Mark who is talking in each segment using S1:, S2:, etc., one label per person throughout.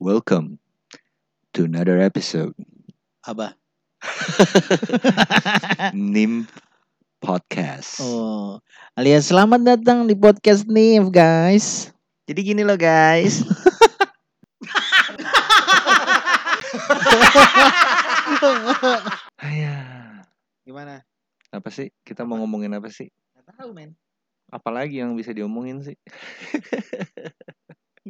S1: Welcome to another episode
S2: apa
S1: NIM Podcast.
S2: Ah. oh alias selamat datang di podcast Nif guys
S1: Jadi gini loh guys. Ayah,
S2: gimana
S1: Ah, ya. apa sih? Kita mau ngomongin apa sih?
S2: nggak tahu men
S1: Apalagi yang bisa diomongin sih?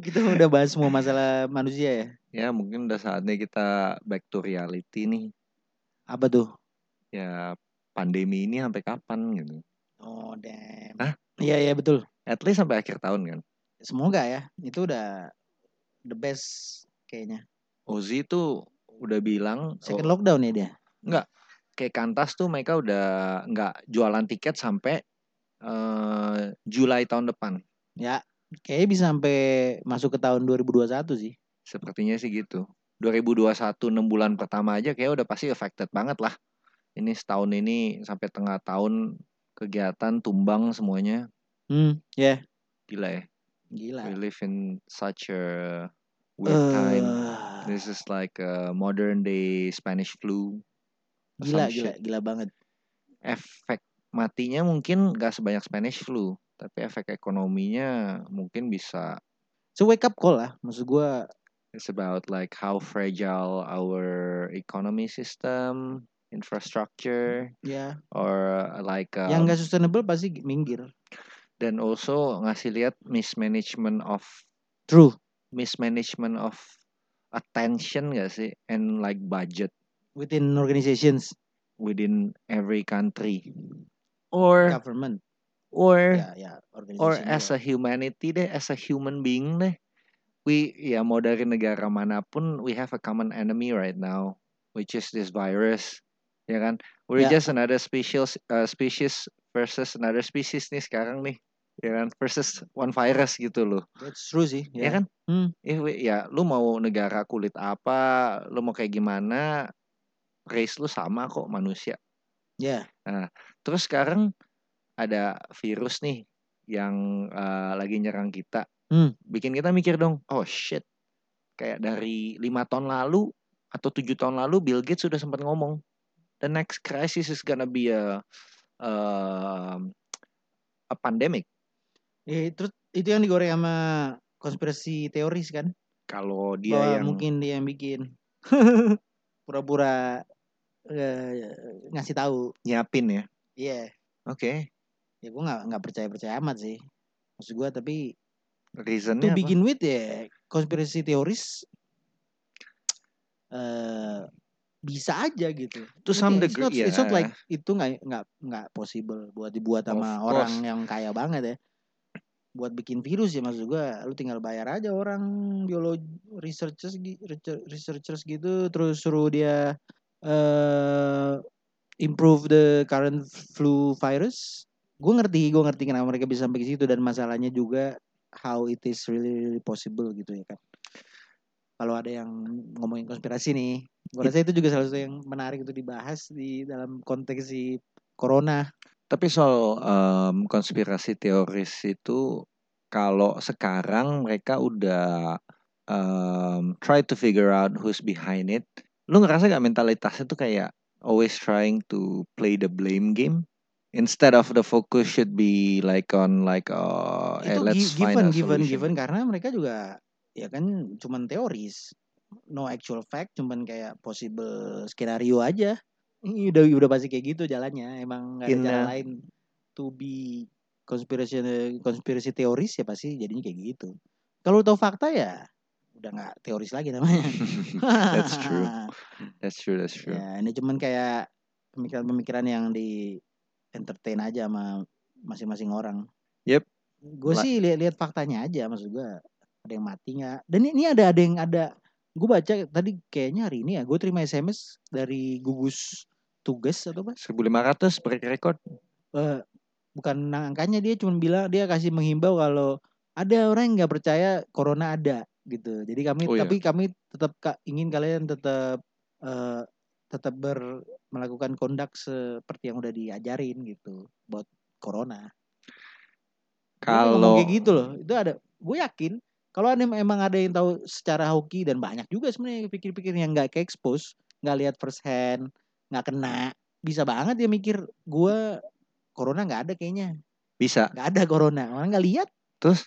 S2: kita udah bahas semua masalah manusia ya
S1: Ya mungkin udah saatnya kita back to reality nih.
S2: apa tuh
S1: Ya pandemi ini sampai kapan gitu?
S2: oh damn
S1: Hah?
S2: iya iya betul
S1: At least sampai akhir tahun kan.
S2: semoga ya itu udah the best kayaknya
S1: Ozi tuh udah bilang oh,
S2: second lockdown ya dia
S1: kayak kantas tuh mereka udah nggak jualan tiket sampai eh Juli tahun depan.
S2: ya kayaknya bisa sampai masuk ke tahun 2021 sih
S1: Sepertinya sih gitu. 2021 6 bulan pertama aja kayak udah pasti affected banget lah. Ini setahun ini sampai tengah tahun kegiatan tumbang semuanya.
S2: hmm ya
S1: Gila ya.
S2: gila
S1: We live in such a weird time.
S2: Eh,
S1: This is like a modern day Spanish flu. or some
S2: gila gila
S1: shit.
S2: gila banget
S1: Efek matinya mungkin gak sebanyak Spanish flu, tapi efek ekonominya mungkin bisa
S2: so wake up call lah maksud gua
S1: It's about like how fragile our economy system, infrastructure,
S2: ya
S1: or uh, like um,
S2: yang nggak sustainable pasti minggir
S1: then also ngasih lihat mismanagement of
S2: true
S1: mismanagement of attention gak sih and like budget
S2: within organizations
S1: within every country or
S2: government
S1: or
S2: ya ya organization
S1: or as
S2: doang.
S1: a humanity deh as a human being deh we ya mau dari negara manapun we have a common enemy right now which is this virus ya kan we're
S2: Ya.
S1: just another species uh, species versus another species nih sekarang nih ya kan versus one virus gitu loh
S2: that's true sih
S1: ya
S2: ya
S1: kan
S2: Hmm.
S1: If we- ya lu mau negara kulit apa lu mau kayak gimana race lu sama kok manusia Nah,
S2: ya
S1: terus sekarang ada virus nih yang eh, lagi nyerang kita
S2: Hmm.
S1: bikin kita mikir dong oh shit kayak dari lima tahun lalu atau tujuh tahun lalu Bill Gates sudah sempat ngomong the next crisis is gonna be a um, a pandemic kan?
S2: Eh, terus itu yang digoreng sama konspirasi teoris kan
S1: kalau dia
S2: bahwa
S1: Iya, yang
S2: mungkin dia yang bikin pura-pura eh, ngasih tahu
S1: nyiapin ya
S2: iya
S1: oke
S2: ya gue nggak nggak percaya percaya amat sih maksud gue tapi itu
S1: reasonnya apa?
S2: bikin with ya konspirasi teoris eh bisa aja gitu
S1: To
S2: Ngerti
S1: some
S2: nggak? It's
S1: degree,
S2: not- it's not
S1: ya.
S2: like itu nggak nggak nggak possible buat dibuat
S1: Of
S2: sama
S1: course.
S2: orang yang kaya banget ya buat bikin virus ya maksud gua lu tinggal bayar aja orang biologi researchers gi- research- researchers gitu terus suruh dia eh improve the current flu virus gue ngerti gue ngerti kenapa mereka bisa sampai ke situ dan masalahnya juga how it is really, really possible gitu ya kan kalau ada yang ngomongin konspirasi nih gue rasa itu juga salah satu yang menarik untuk dibahas di dalam konteks si corona
S1: Tapi soal em, konspirasi teoris itu kalau sekarang mereka udah em, try to figure out who's behind it. Lu ngerasa gak mentalitasnya tuh kayak always trying to play the blame game instead of the focus should be like on like uh, eh,
S2: itu
S1: let's
S2: gi-
S1: find a
S2: given given
S1: solution.
S2: given karena mereka juga ya kan cuman teoris no actual fact cuman kayak possible skenario aja Ini udah udah pasti kayak gitu jalannya emang nggak ada
S1: In
S2: jalan
S1: a-
S2: lain to be konspirasi konspirasi teoris ya pasti jadinya kayak gitu kalau tahu fakta ya udah nggak teoris lagi namanya
S1: That's true. That's true, that's true.
S2: ya ini cuman kayak pemikiran-pemikiran yang di entertain aja sama masing-masing orang
S1: Yep.
S2: gue
S1: La-
S2: sih lihat-lihat faktanya aja maksud gue ada yang mati nggak dan ini ada ada yang ada gue baca tadi kayaknya hari ini ya gue terima sms dari gugus tugas atau apa
S1: 1500 break record.
S2: Eh, bukan angkanya dia cuma bilang dia kasih menghimbau kalau ada orang yang nggak percaya corona ada gitu jadi kami
S1: Oh, iya.
S2: tapi kami tetap ka- ingin kalian tetap eh, tetap ber melakukan kondak seperti yang udah diajarin gitu buat corona Dia ngomong gitu
S1: Kalau
S2: kayak gitu loh itu ada gue yakin Kalau ada emang ada yang tahu secara hoki dan banyak juga sebenarnya yang pikir-pikir yang nggak ke expose, nggak lihat first hand, nggak kena, bisa banget dia mikir gua corona nggak ada kayaknya,
S1: Bisa.
S2: nggak ada corona, orang nggak lihat.
S1: Terus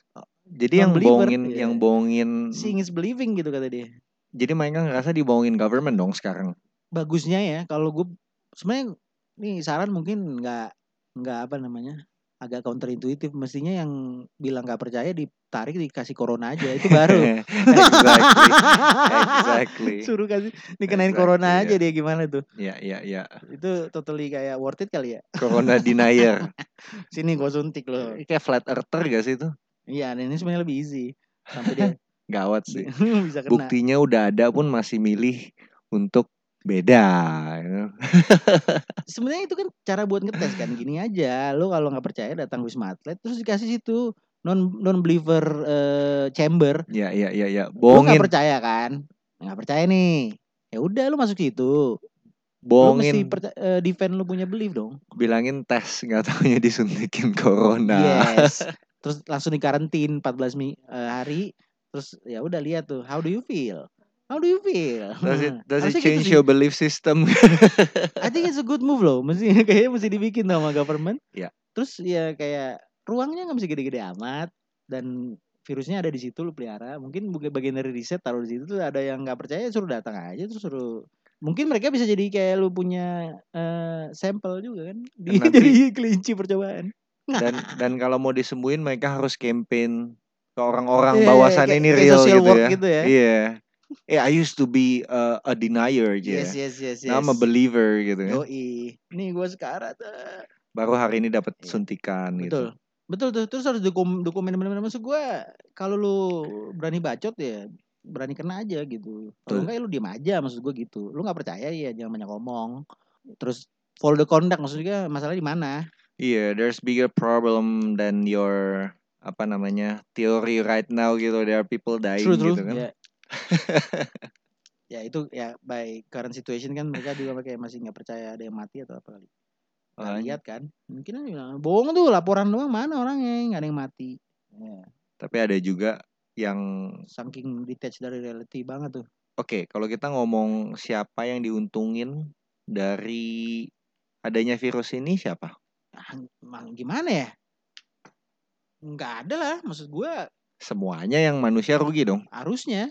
S1: jadi yang
S2: Non-believer,
S1: bohongin
S2: iya.
S1: yang bohongin
S2: Seeing is believing gitu kata dia.
S1: jadi mereka ngerasa dibohongin government dong sekarang.
S2: Bagusnya ya kalau gue sebenarnya nih saran mungkin nggak nggak apa namanya agak counterintuitif mestinya yang bilang nggak percaya ditarik dikasih corona aja itu baru
S1: exactly. Exactly.
S2: suruh kasih dikenain
S1: Exactly,
S2: corona
S1: ya.
S2: aja dia gimana tuh
S1: Ya, ya, ya.
S2: itu totally kayak worth it kali ya
S1: Corona denier.
S2: sini gue suntik loh
S1: Kayak flat earther gak sih itu?
S2: iya dan ini sebenarnya lebih easy sampai dia
S1: Gawat sih.
S2: bisa kena
S1: Buktinya udah ada pun masih milih untuk beda. you know.
S2: sebenarnya itu kan cara buat ngetes kan gini aja lo kalau nggak percaya datang wisma atlet terus dikasih situ non non believer eh, chamber
S1: Ya, ya, ya, ya.
S2: Lu nggak
S1: Bohongin,
S2: percaya kan? Nggak percaya nih. Ya udah lu masuk situ. Lu mesti
S1: bohongin.
S2: perca- eh, defend lu punya belief dong.
S1: Bilangin tes, nggak taunya disuntikin
S2: Iya.
S1: corona.
S2: Yes. Terus langsung dikarantin 14 mi- eh, hari. Terus ya udah lihat tuh how do you feel? How do you feel?
S1: Does it, does it
S2: Harusnya gitu
S1: change
S2: sih.
S1: your belief system?
S2: I think it's a good move loh. Mesti kayaknya mesti dibikin sama government.
S1: Ya.
S2: Terus ya kayak ruangnya nggak mesti gede-gede amat dan virusnya ada di situ lu pelihara. Mungkin bagi- bagian dari riset taruh di situ ada yang nggak percaya suruh datang aja terus suruh mungkin mereka bisa jadi kayak lu punya eh, sampel juga kan. Di,
S1: Dan nanti-
S2: jadi kelinci percobaan.
S1: dan dan kalau mau disembuhin mereka harus campaign ke orang-orang
S2: Iya,
S1: bahwa
S2: iya,
S1: sana
S2: kayak-
S1: ini
S2: kayak
S1: real
S2: social
S1: gitu
S2: work
S1: ya.
S2: gitu ya.
S1: Iya. Eh, I used to be a, a denier aja.
S2: Yes, yes, yes, yes.
S1: Now I'm a believer gitu ya.
S2: Yoi. Nih gua sekarat. eh.
S1: Baru hari ini dapat
S2: Iya.
S1: suntikan
S2: Betul.
S1: gitu.
S2: Betul tuh. Terus harus dokum, dokumen benar-benar masuk gua kalau lu berani bacot ya berani kena aja gitu.
S1: Betul.
S2: Kalau enggak ya lu diem aja maksud gua gitu. Lu nggak percaya ya jangan banyak ngomong. Terus follow the conduct maksudnya masalah di mana?
S1: Iya, there's bigger problem than your apa namanya? teori right now gitu. There are people dying
S2: True true.
S1: gitu kan.
S2: Ya. ya itu ya by current situation kan mereka juga kayak masih nggak percaya ada yang mati atau apa kali. Nggak
S1: Makanya.
S2: lihat kan. Mungkin aja bilang, bohong tuh laporan doang mana orangnya nggak ada yang mati. Ya,
S1: Tapi ada juga yang
S2: saking detached dari reality banget tuh.
S1: Oke, kalau kita ngomong siapa yang diuntungin dari adanya virus ini siapa?
S2: Ah, emang gimana ya? Nggak ada lah, maksud gua
S1: Semuanya yang manusia rugi dong.
S2: harusnya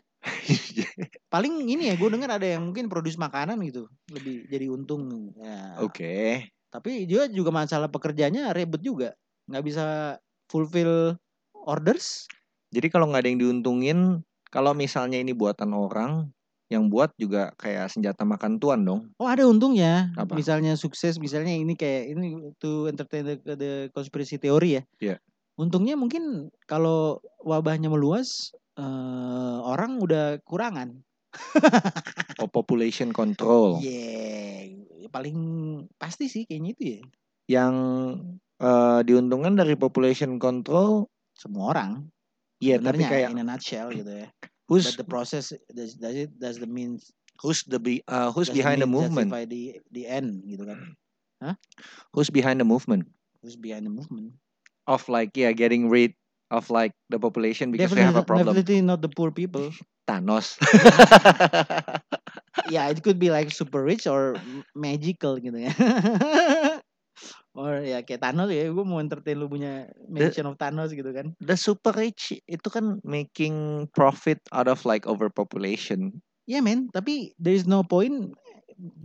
S2: paling ini ya gue dengar ada yang mungkin produce makanan gitu lebih jadi untung ya.
S1: Oh. Oke.
S2: Tapi dia juga masalah pekerjanya ribet juga, nggak bisa fulfill orders.
S1: Jadi kalau nggak ada yang diuntungin, kalau misalnya ini buatan orang, yang buat juga kayak senjata makan tuan dong.
S2: Oh ada untungnya,
S1: Apa?
S2: misalnya sukses, misalnya ini kayak ini to entertain the, the conspiracy theory ya.
S1: Iya.
S2: Untungnya mungkin kalau wabahnya meluas, eh, orang udah kurangan.
S1: Oh, population control.
S2: Yeah, Iya, ya paling pasti sih kayaknya itu ya.
S1: Yang eh, diuntungkan dari population control,
S2: Semua orang.
S1: iya tapi
S2: sebenarnya
S1: kayak
S2: in a nutshell gitu ya. But
S1: who's
S2: the process does, does it does the means
S1: who's the be- eh, who's
S2: does
S1: behind the
S2: means
S1: movement?
S2: justify the the end gitu kan.
S1: Who's behind the movement
S2: Who's behind the movement?
S1: of like yeah getting rid of like the population because they have a problem?
S2: definitely not the poor people.
S1: Thanos.
S2: yeah, it could be like super rich or m- magical gitu ya. or ya kayak Thanos ya, gue mau entertain lu punya mention of Thanos gitu kan.
S1: the super rich itu kan making profit out of like overpopulation.
S2: Yeah man, tapi there is no point.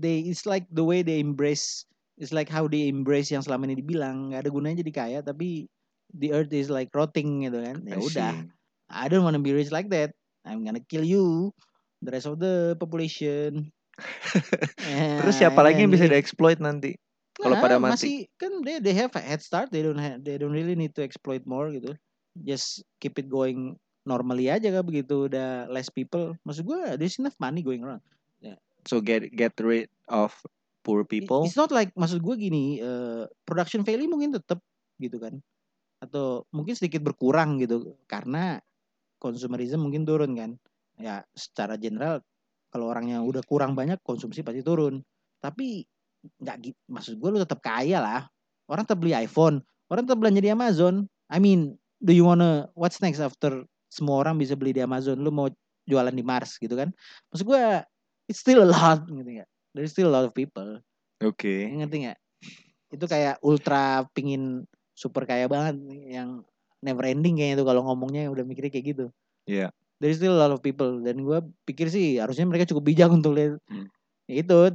S2: They it's like the way they embrace. It's like how they embrace yang selama ini dibilang nggak ada gunanya jadi kaya, tapi the earth is like rotting gitu kan. Ya
S1: I
S2: udah,
S1: see.
S2: I don't wanna be rich like that. I'm gonna kill you, the rest of the population.
S1: Terus siapa lagi yang bisa dieksploit nanti? kalau pada mati?
S2: Masih kan they, they have a head start. They don't have, they don't really need to exploit more gitu. Just keep it going normally aja kan begitu udah less people. Maksud gue there's enough money going around.
S1: So get get rid of poor
S2: I-
S1: people.
S2: It's not like maksud gue gini, eh, production value mungkin tetap gitu kan, atau mungkin sedikit berkurang gitu karena consumerism mungkin turun kan. Ya secara general kalau orangnya udah kurang banyak konsumsi pasti turun. Tapi nggak gitu, maksud gue lu tetap kaya lah. Orang tetap beli iPhone, orang tetap belanja di Amazon. I mean, do you wanna what's next after semua orang bisa beli di Amazon lu mau jualan di Mars gitu kan maksud gua it's still a lot gitu ya there's still a lot of people
S1: Oke.
S2: ngerti nggak itu kayak ultra pingin super kaya banget yang never ending kayaknya itu kalau ngomongnya udah mikirnya kayak gitu
S1: Iya.
S2: there's still a lot of people dan gua pikir sih harusnya mereka cukup bijak untuk lihat
S1: Hmm.
S2: Ya itu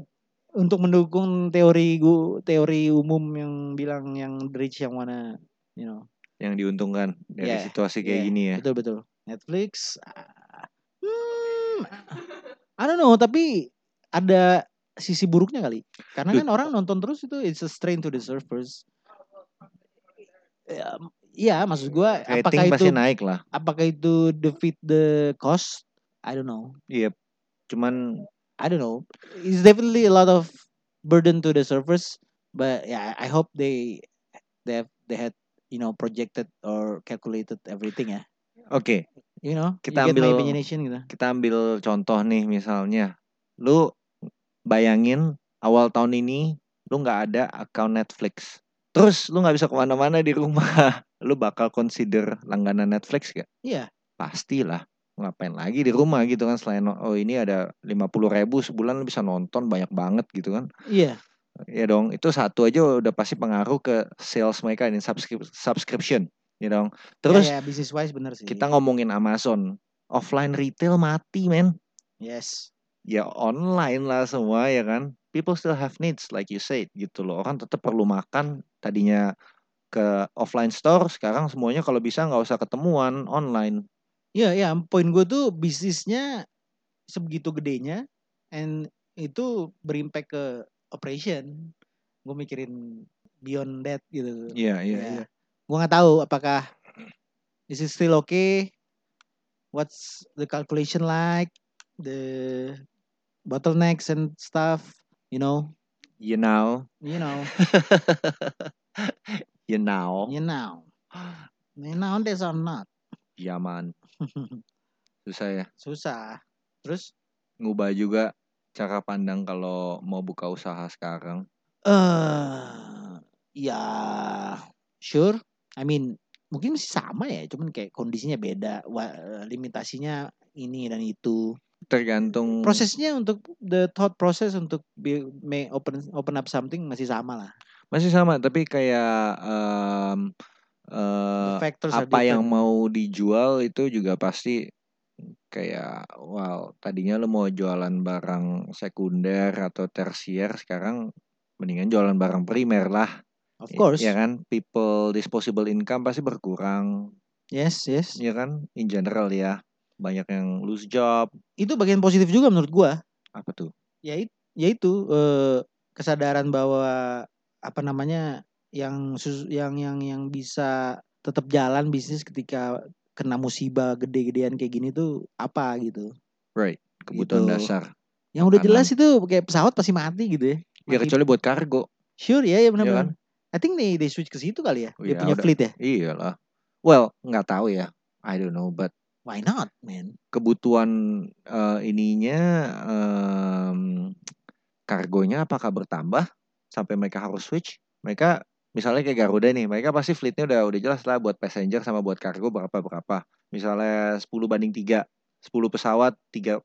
S2: untuk mendukung teori gua teori umum yang bilang yang the rich yang wanna you know
S1: Yang diuntungkan dari
S2: Yeah,
S1: situasi kayak
S2: yeah.
S1: gini ya.
S2: Betul betul. Netflix. ah, hmm, I don't know tapi ada sisi buruknya kali. Karena
S1: Duh.
S2: kan orang nonton terus itu it's a strain to the surfers. Ya, Iya, maksud gua apakah
S1: Rating
S2: itu
S1: pasti naik lah.
S2: apakah itu defeat the cost? I don't know.
S1: Iya. Cuman
S2: I don't know. It's definitely a lot of burden to the surfers, but yeah, I hope they they have, they had you know projected or calculated everything ya.
S1: oke,
S2: You know,
S1: Kita
S2: you get my
S1: ambil-
S2: imagination gitu.
S1: kita ambil contoh nih misalnya. Lu bayangin awal tahun ini lu nggak ada account Netflix. Terus lu nggak bisa kemana-mana di rumah. Lu bakal consider langganan Netflix gak?
S2: Iya.
S1: Pastilah. Ngapain lagi di rumah gitu kan selain oh ini ada 50.000 ribu sebulan lu bisa nonton banyak banget gitu kan.
S2: Iya,
S1: Ya dong, itu satu aja udah pasti pengaruh ke sales mereka ini subscri- subscription, ya dong. Terus
S2: ya, ya, business wise bener sih.
S1: kita ngomongin Amazon, offline retail mati men.
S2: yes.
S1: Ya online lah semua ya kan. People still have needs like you said gitu loh. Orang tetap perlu makan. Tadinya ke offline store, sekarang semuanya kalau bisa nggak usah ketemuan online.
S2: Iya, ya, poin gue tuh bisnisnya sebegitu gedenya and itu berimpact ke operation. Gue mikirin beyond that gitu.
S1: Iya iya
S2: Ya.
S1: iya.
S2: Gua nggak tahu apakah is it still okay? What's the calculation like? The bottlenecks and stuff, you know,
S1: You know,
S2: you know,
S1: you know,
S2: you know, you know this or not.
S1: Yaman. Iya, Susah ya.
S2: Susah. Terus
S1: Ngubah juga cara pandang kalau mau buka usaha sekarang.
S2: eh ya sure. I mean mungkin masih sama ya, cuman kayak kondisinya beda, wa- eh, limitasinya ini dan itu.
S1: tergantung
S2: prosesnya untuk the thought process untuk be, may open open up something masih sama lah.
S1: masih sama tapi kayak em, eh,
S2: The factors are
S1: apa yang
S2: different.
S1: mau dijual itu juga pasti kayak wow tadinya lo mau jualan barang sekunder atau tersier sekarang mendingan jualan barang primer lah
S2: Of course.
S1: ya kan people disposable income pasti berkurang
S2: Yes, yes.
S1: ya kan in general ya banyak yang lose job
S2: Itu bagian positif juga menurut gua.
S1: apa tuh
S2: Yaitu yaitu eh, kesadaran bahwa apa namanya yang sus- yang yang yang bisa tetap jalan bisnis ketika kena musibah gede-gedean kayak gini tuh apa gitu.
S1: right kebutuhan
S2: Gitu.
S1: dasar
S2: Yang udah
S1: Makanan.
S2: jelas itu kayak pesawat pasti mati gitu ya.
S1: ya
S2: Mati.
S1: kecuali buat kargo
S2: Sure ya, ya
S1: kan?
S2: benar-benar. I think they, they switch ke situ kali ya.
S1: Oh
S2: Dia
S1: iya,
S2: punya
S1: udah.
S2: fleet ya.
S1: iyalah well nggak tahu ya I don't know but
S2: Why not, man?
S1: kebutuhan eh, ininya em, kargonya apakah bertambah sampai mereka harus switch mereka misalnya kayak Garuda nih mereka pasti fleetnya udah udah jelas lah buat passenger sama buat kargo berapa berapa misalnya 10 banding 3 10 pesawat 3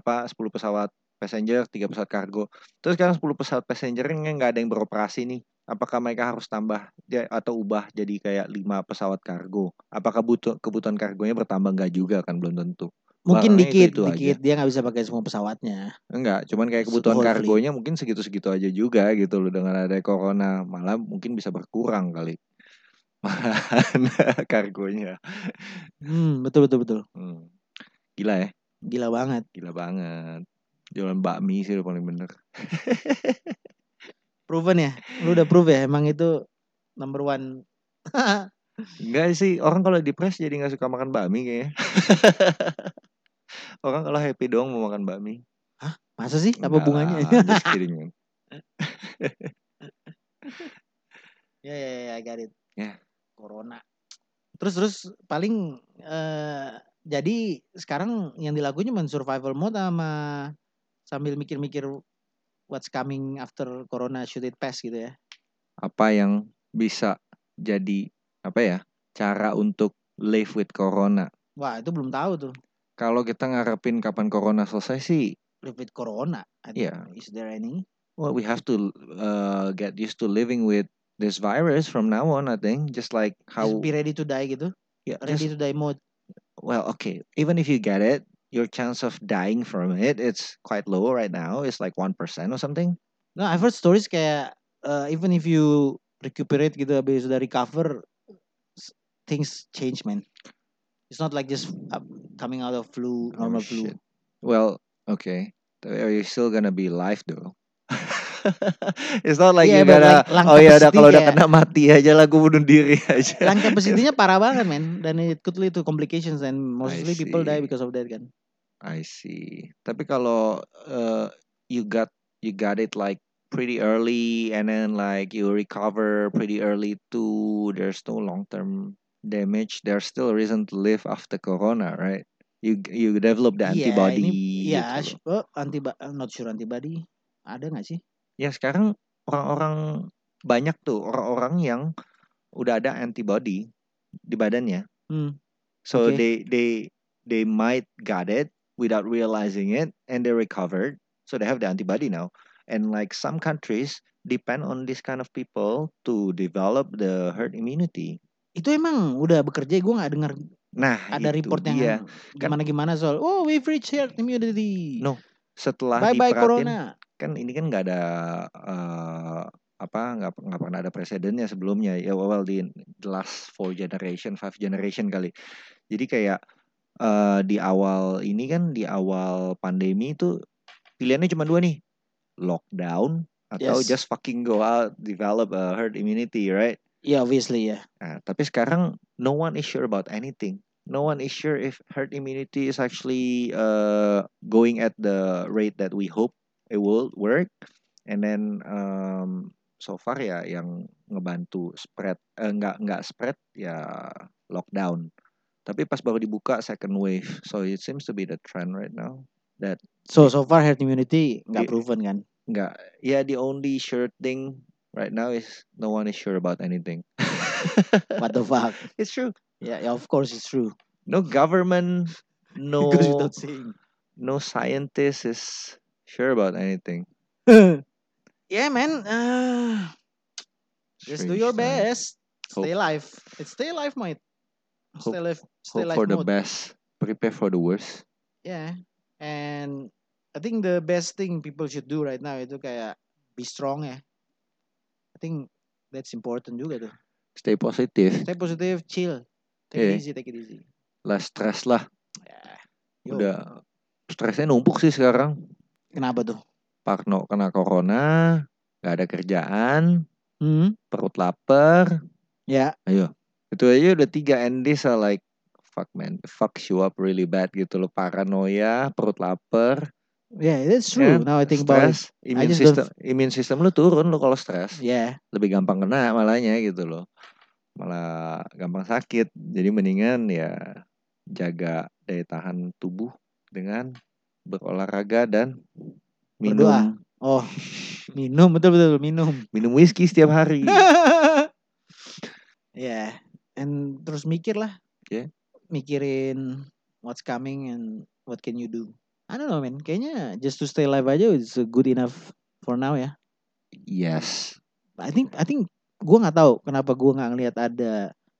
S1: apa 10 pesawat passenger 3 pesawat kargo terus sekarang 10 pesawat passengernya nggak ada yang beroperasi nih apakah mereka harus tambah dia- atau ubah jadi kayak 5 pesawat kargo apakah butuh kebutuhan kargonya bertambah nggak juga kan belum tentu
S2: Mungkin
S1: Barangnya
S2: dikit,
S1: itu-itu aja.
S2: dikit dia nggak bisa pakai semua pesawatnya.
S1: Enggak, cuman kayak
S2: Se-
S1: kebutuhan
S2: whole fleet.
S1: kargonya mungkin segitu-segitu aja juga gitu loh dengan ada corona, malah mungkin bisa berkurang kali. Malahan kargonya.
S2: Hmm, betul betul betul.
S1: Hmm. Gila ya,
S2: Gila banget.
S1: gila banget. Jualan bakmi sih udah paling bener.
S2: Proven ya. Lu udah prove ya emang itu number one.
S1: Enggak sih, orang kalau depres jadi nggak suka makan bakmi kayaknya. orang kalau happy doang mau makan bakmi.
S2: Masa sih? Apa
S1: Enggak
S2: bunganya?
S1: lah, just kidding, man.
S2: Ya ya ya, I got it.
S1: Ya.
S2: Corona. Terus terus paling eh jadi sekarang yang dilakuin cuma survival mode sama sambil mikir-mikir what's coming after corona should it pass gitu ya.
S1: Apa yang bisa jadi apa ya? Cara untuk live with corona
S2: Wah itu belum tahu tuh.
S1: Kalau kita ngarepin kapan corona selesai sih,
S2: Repeat corona. I don't
S1: Yeah.
S2: know. Is there any?
S1: well, we have to uh, get used to living with this virus from now on. I think just like how
S2: Just be ready to die gitu.
S1: yeah, just-
S2: Ready to die mode.
S1: well, okay. Even if you get it, your chance of dying from it it's quite low right now. It's like one percent or something.
S2: No, Nah, I've heard stories kayak uh, even if you recuperate gitu habis udah recover s- things change man. It's not like just uh, coming out of flu,
S1: Oh,
S2: normal flu.
S1: shit. Well, okay. Are you still gonna be alive though? it's not like you
S2: Yeah, but
S1: gotta.
S2: like, langkah
S1: oh ya udah
S2: pasti
S1: kalau udah
S2: kayak-
S1: kena mati aja lah, gue bunuh diri aja.
S2: Lung capacity-nya parah banget man dan it could lead to complications and mostly people die
S1: see.
S2: because of that kan.
S1: I see. Tapi kalau uh, you got you got it like pretty early and then like you recover pretty early too, there's no long term damage. There's still a reason to live after corona, right? You you develop the
S2: Iya,
S1: antibody.
S2: ini
S1: gitu
S2: ya
S1: loh.
S2: antiba not sure antibody ada nggak sih?
S1: ya sekarang orang-orang banyak tuh orang-orang yang udah ada antibody di badannya
S2: Hmm.
S1: so
S2: Okay.
S1: they they they might got it without realizing it and they recovered so they have the antibody now and like some countries depend on this kind of people to develop the herd immunity
S2: Itu emang udah bekerja gue nggak dengar
S1: nah
S2: ada
S1: itu
S2: report
S1: dia.
S2: yang gimana gimana soal oh we've reached herd immunity.
S1: No, setelah
S2: bye bye
S1: diperhatiin
S2: corona.
S1: kan ini kan nggak ada eh, apa nggak nggak pernah ada presidennya sebelumnya ya well di the last four generation five generation kali jadi kayak eh, di awal ini kan di awal pandemi itu pilihannya cuma dua nih lockdown atau
S2: Yes.
S1: just fucking go out develop a herd immunity right
S2: Ya obviously ya.
S1: nah, tapi sekarang no one is sure about anything no one is sure if herd immunity is actually uh, going at the rate that we hope it will work and then um, so far ya yang ngebantu spread eh, nggak nggak spread ya lockdown tapi pas baru dibuka second wave so it seems to be the trend right now
S2: So so far herd immunity
S1: Di-
S2: nggak proven kan.
S1: nggak ya the only sure thing right now is no one is sure about anything
S2: What the fuck?
S1: it's true
S2: Ya ya, of course it's true.
S1: no government no
S2: Goes without saying.
S1: no scientist is sure about anything
S2: yeah man. Ah, just do
S1: Strange
S2: your
S1: time.
S2: best. Stay alive. It's stay alive mate. Stay alive. Stay
S1: hope
S2: alive
S1: for the
S2: mode.
S1: best prepare for the worst
S2: Yeah. And I think the best thing people should do right now itu kayak be strong ya. I think that's important juga tuh.
S1: stay positive
S2: Stay positive, chill. Take
S1: Yeah.
S2: it easy, take it easy.
S1: lah stress lah
S2: Yeah. Yo,
S1: udah stresnya numpuk sih sekarang
S2: Kenapa tuh?
S1: Parno kena corona nggak ada kerjaan
S2: Hmm?
S1: perut lapar
S2: Ya.
S1: itu aja udah tiga and this are like fuck man fuck you up really bad gitu loh paranoia perut lapar
S2: Yeah, that's
S1: Yeah,
S2: true. Now I think about it.
S1: stres imun
S2: just don't-
S1: system imun system lu turun lu kalau stres
S2: Yeah.
S1: lebih gampang kena malahnya gitu loh malah gampang sakit jadi mendingan ya jaga daya tahan tubuh dengan berolahraga dan minum
S2: Berdoa. Oh, minum betul betul minum.
S1: minum whisky setiap hari
S2: yeah. And terus mikir lah.
S1: Yeah.
S2: Mikirin what's coming and what can you do. I don't know man. Kayaknya just to stay alive aja is good enough for now ya.
S1: yes
S2: I think I think gue nggak tahu kenapa gue nggak ngelihat ada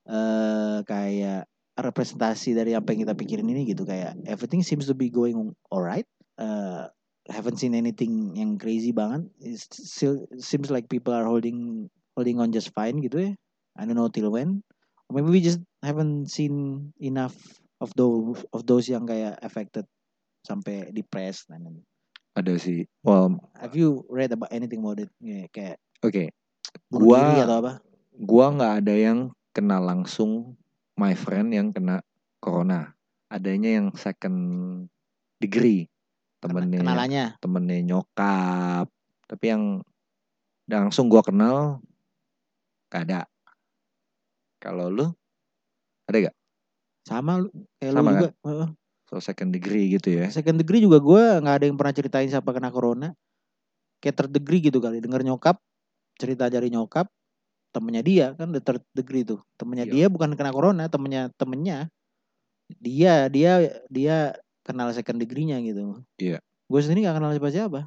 S2: eh kayak representasi dari apa yang kita pikirin ini gitu kayak everything seems to be going alright. Eh haven't seen anything yang crazy banget. It's still seems like people are holding holding on just fine gitu ya. I don't know till when. Or maybe we just haven't seen enough of those of those yang kayak affected sampai depressed. And then-
S1: ada sih well
S2: Have you read about anything about it? Kayak- Kayak
S1: oke
S2: bunuh
S1: Gua-
S2: diri atau apa?
S1: gua nggak ada yang kena langsung my friend yang kena corona adanya yang second degree
S2: Kena-
S1: temennya
S2: kenalannya.
S1: temennya nyokap tapi yang langsung gua kenal gak ada kalau lu
S2: sama lu kayak
S1: Sama kan?
S2: lu juga Heeh.
S1: so second degree gitu ya
S2: second degree juga gue nggak ada yang pernah ceritain siapa kena corona kayak third degree gitu kali denger nyokap cerita dari nyokap temennya dia kan udah third degree tuh temennya
S1: Iya.
S2: dia bukan kena corona temennya temennya dia dia dia kenal second degree-nya gitu.
S1: Iya.
S2: Gue sendiri nggak kenal siapa-siapa.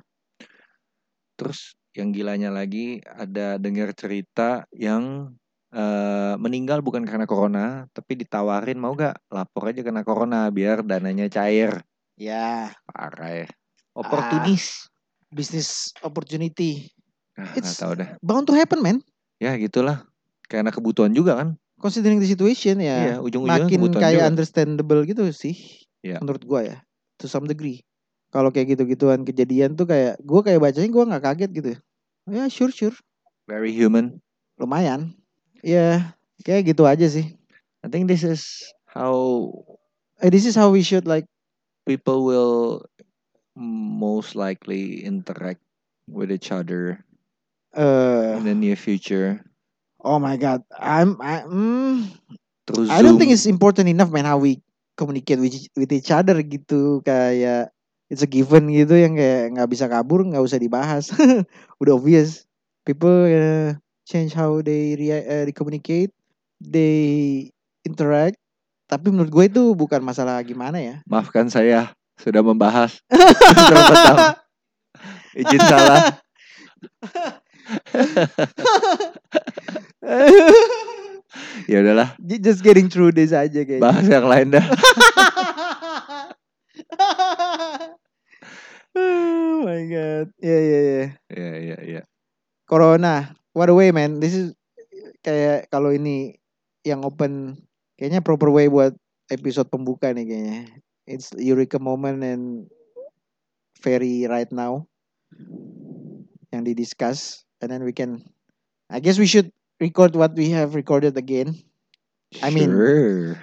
S1: Terus yang gilanya lagi ada dengar cerita yang eh, meninggal bukan karena corona, tapi ditawarin mau gak lapor aja kena corona biar dananya cair.
S2: Ya,
S1: Parah ya. Oportunis.
S2: business opportunity.
S1: Ah, nggak
S2: It's-
S1: tahu deh.
S2: Bound to happen, man.
S1: Ya gitulah. Karena kebutuhan juga kan.
S2: Considering the situation ya.
S1: Iya, ujung-ujungnya
S2: makin
S1: kebutuhan
S2: kayak
S1: juga.
S2: understandable gitu sih
S1: Iya.
S2: menurut gua ya to some degree kalau kayak gitu-gituan kejadian tuh kayak gua kayak bacanya gua nggak kaget gitu ya sure sure
S1: Very human.
S2: lumayan ya kayak gitu aja sih
S1: I think this is how
S2: Eh, this is how we should like
S1: people will most likely interact with each other
S2: uh,
S1: in the near future
S2: oh my god I'm I, mm,
S1: through Zoom.
S2: I don't think it's important enough man how we communicate with, each- with each other gitu kayak it's a given gitu yang kayak nggak bisa kabur nggak usah dibahas udah obvious people uh, change how they rea- uh, they communicate they interact tapi menurut gue itu bukan masalah gimana ya
S1: Maafkan saya sudah membahas Berapa tahun? Izin salah. Ya udahlah,
S2: Ju- just getting through this aja kayaknya
S1: bahas yang lain dah.
S2: oh my god ya ya ya
S1: Iya iya iya.
S2: Corona. What a way, man. This is kayak kalau ini yang open kayaknya proper way buat episode pembuka nih kayaknya. It's Eureka moment and very right now yang di discuss and then we can I guess we should record what we have recorded again. I mean-
S1: sure.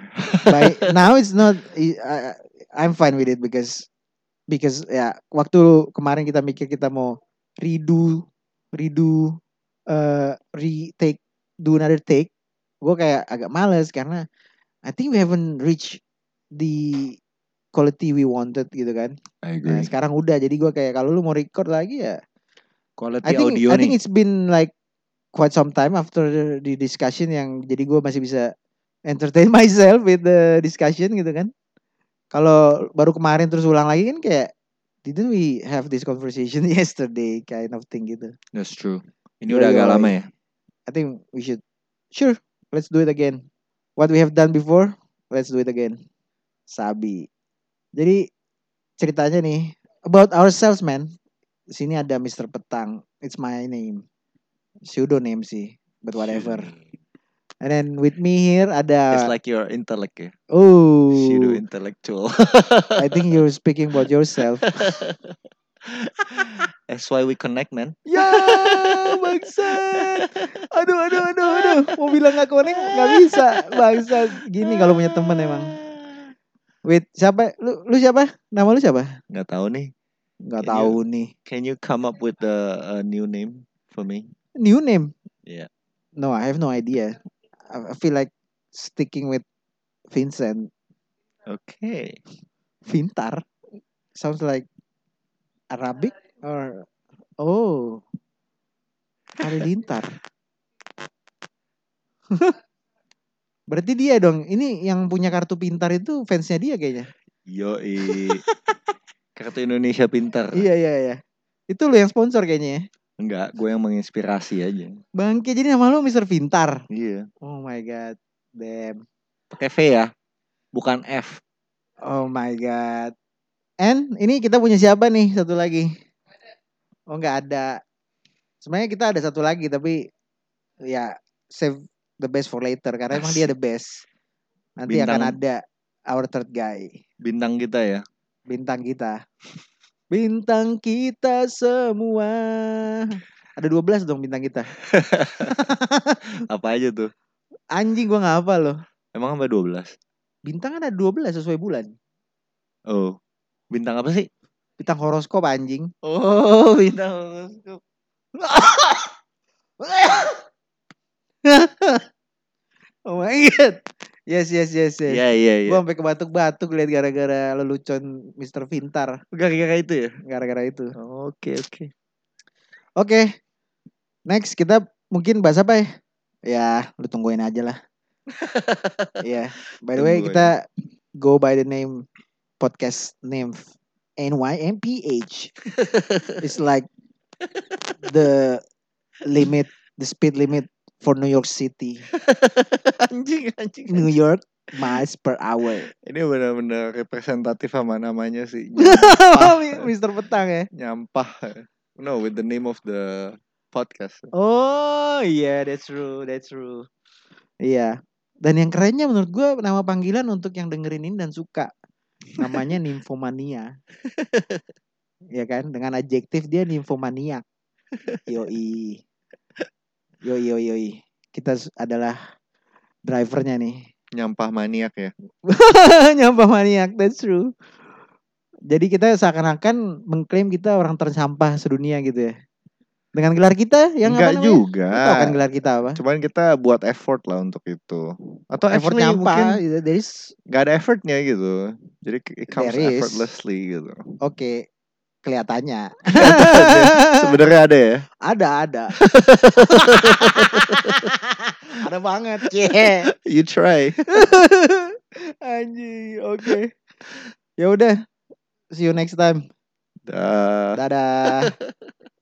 S2: By now it's not I, I- I'm fine with it because because ya waktu kemarin kita mikir kita mau redo redo eh retake do another take gue kayak agak males karena I think we haven't reached the quality we wanted gitu kan
S1: I
S2: nah
S1: agree.
S2: sekarang udah jadi gue kayak kalau lu mau record lagi ya
S1: Quality
S2: I think
S1: audio nih.
S2: I think it's been like quite some time after the discussion yang jadi gue masih bisa entertain myself with the discussion gitu kan. Kalau baru kemarin terus ulang lagi kan kayak didn't we have this conversation yesterday kind of thing gitu.
S1: That's true. Ini
S2: Yoi,
S1: udah agak
S2: yoi.
S1: lama ya.
S2: I think we should sure let's do it again. What we have done before, let's do it again. Sabi. Jadi ceritanya nih about ourselves man. Di Sini ada Mr. Petang. It's my name. Pseudo name sih, but whatever. Uh, And then with me here ada
S1: It's like your intellect ya.
S2: oh
S1: Pseudo intellectual.
S2: I think you're speaking about yourself.
S1: That's why we connect, man.
S2: ya bangsat. Aduh aduh aduh aduh. Mau bilang gak connect nggak bisa. Bangsat. Gini kalau punya temen emang. Wait siapa? Lu lu siapa? Nama lu siapa?
S1: Nggak tahu nih.
S2: Nggak
S1: Iya.
S2: tahu nih.
S1: Can you come up with a, a new name for me?
S2: New name?
S1: Yeah.
S2: No, I have no idea. I I feel like sticking with Vincent.
S1: Okay.
S2: Vintar. Sounds like Arabic or oh Halilintar. Berarti dia dong. Ini yang punya kartu pintar itu fansnya dia kayaknya.
S1: Yoi. Kartu Indonesia Pintar.
S2: Iya iya iya. Itu lu yang sponsor kayaknya. ya.
S1: Enggak, gue yang menginspirasi aja.
S2: Bangke jadi nama lu Mr. Vintar.
S1: Iya.
S2: Oh my god. Damn.
S1: Pakai V ya. Bukan F.
S2: Oh my god. And ini kita punya siapa nih satu lagi? Oh nggak ada. Sebenarnya kita ada satu lagi tapi ya save the best for later karena emang dia the best. Nanti akan
S1: Bintang.
S2: ada our third guy,
S1: Bintang kita ya.
S2: bintang kita. Bintang kita semua. Ada 12 dong bintang kita.
S1: Apa aja tuh?
S2: Anjing gua nggak apa loh.
S1: Emang sampai 12?
S2: Bintang kan ada 12 sesuai bulan.
S1: Oh. Bintang apa sih?
S2: Bintang horoskop anjing.
S1: Oh, bintang horoskop.
S2: Oh my god. Yes yes yes yes.
S1: Iya, iya, iya.
S2: Gue sampai kebatuk-batuk lihat gara-gara lelucon Mr. Vintar
S1: Gara-gara itu ya?
S2: gara-gara itu.
S1: Oke, oke.
S2: Oke. Next kita mungkin bahas apa ya? Ya, lu tungguin aja lah. Iya. By the way,
S1: Tungguin.
S2: kita go by the name podcast name NYMPH. it's like the limit, the speed limit for New York City.
S1: anjing anjing.
S2: New York miles per hour.
S1: Ini benar-benar representatif sama namanya sih.
S2: Oh, Mister Petang ya.
S1: Nyampah. No, with the name of the podcast.
S2: Oh iya, that's true, that's true. Iya. Dan yang kerennya menurut gue nama panggilan untuk yang dengerin ini dan suka namanya nymphomania. ya kan? Dengan adjektif dia nymphomaniak. Yoi. Yoi yoi yoi. Kita s- adalah drivernya nih.
S1: Nyampah maniak ya.
S2: Nyampah maniak, that's true. Jadi kita seakan-akan mengklaim kita orang tersampah sedunia gitu ya. Dengan gelar kita yang
S1: Enggak
S2: Ya, apa namanya?
S1: juga.
S2: Lu Tau kan gelar kita apa?
S1: Cuman kita buat effort lah untuk itu. Atau
S2: Effort
S1: actually mungkin
S2: nyampah. Mungkin... There is,
S1: nggak ada effortnya gitu. Jadi it comes
S2: There is.
S1: effortlessly gitu.
S2: oke, kelihatannya.
S1: Sebenarnya ada ya.
S2: ada, ada. ada banget. Cie.
S1: You try.
S2: Anjing, oke. Ya udah. See you next time.
S1: Dah.
S2: Dadah.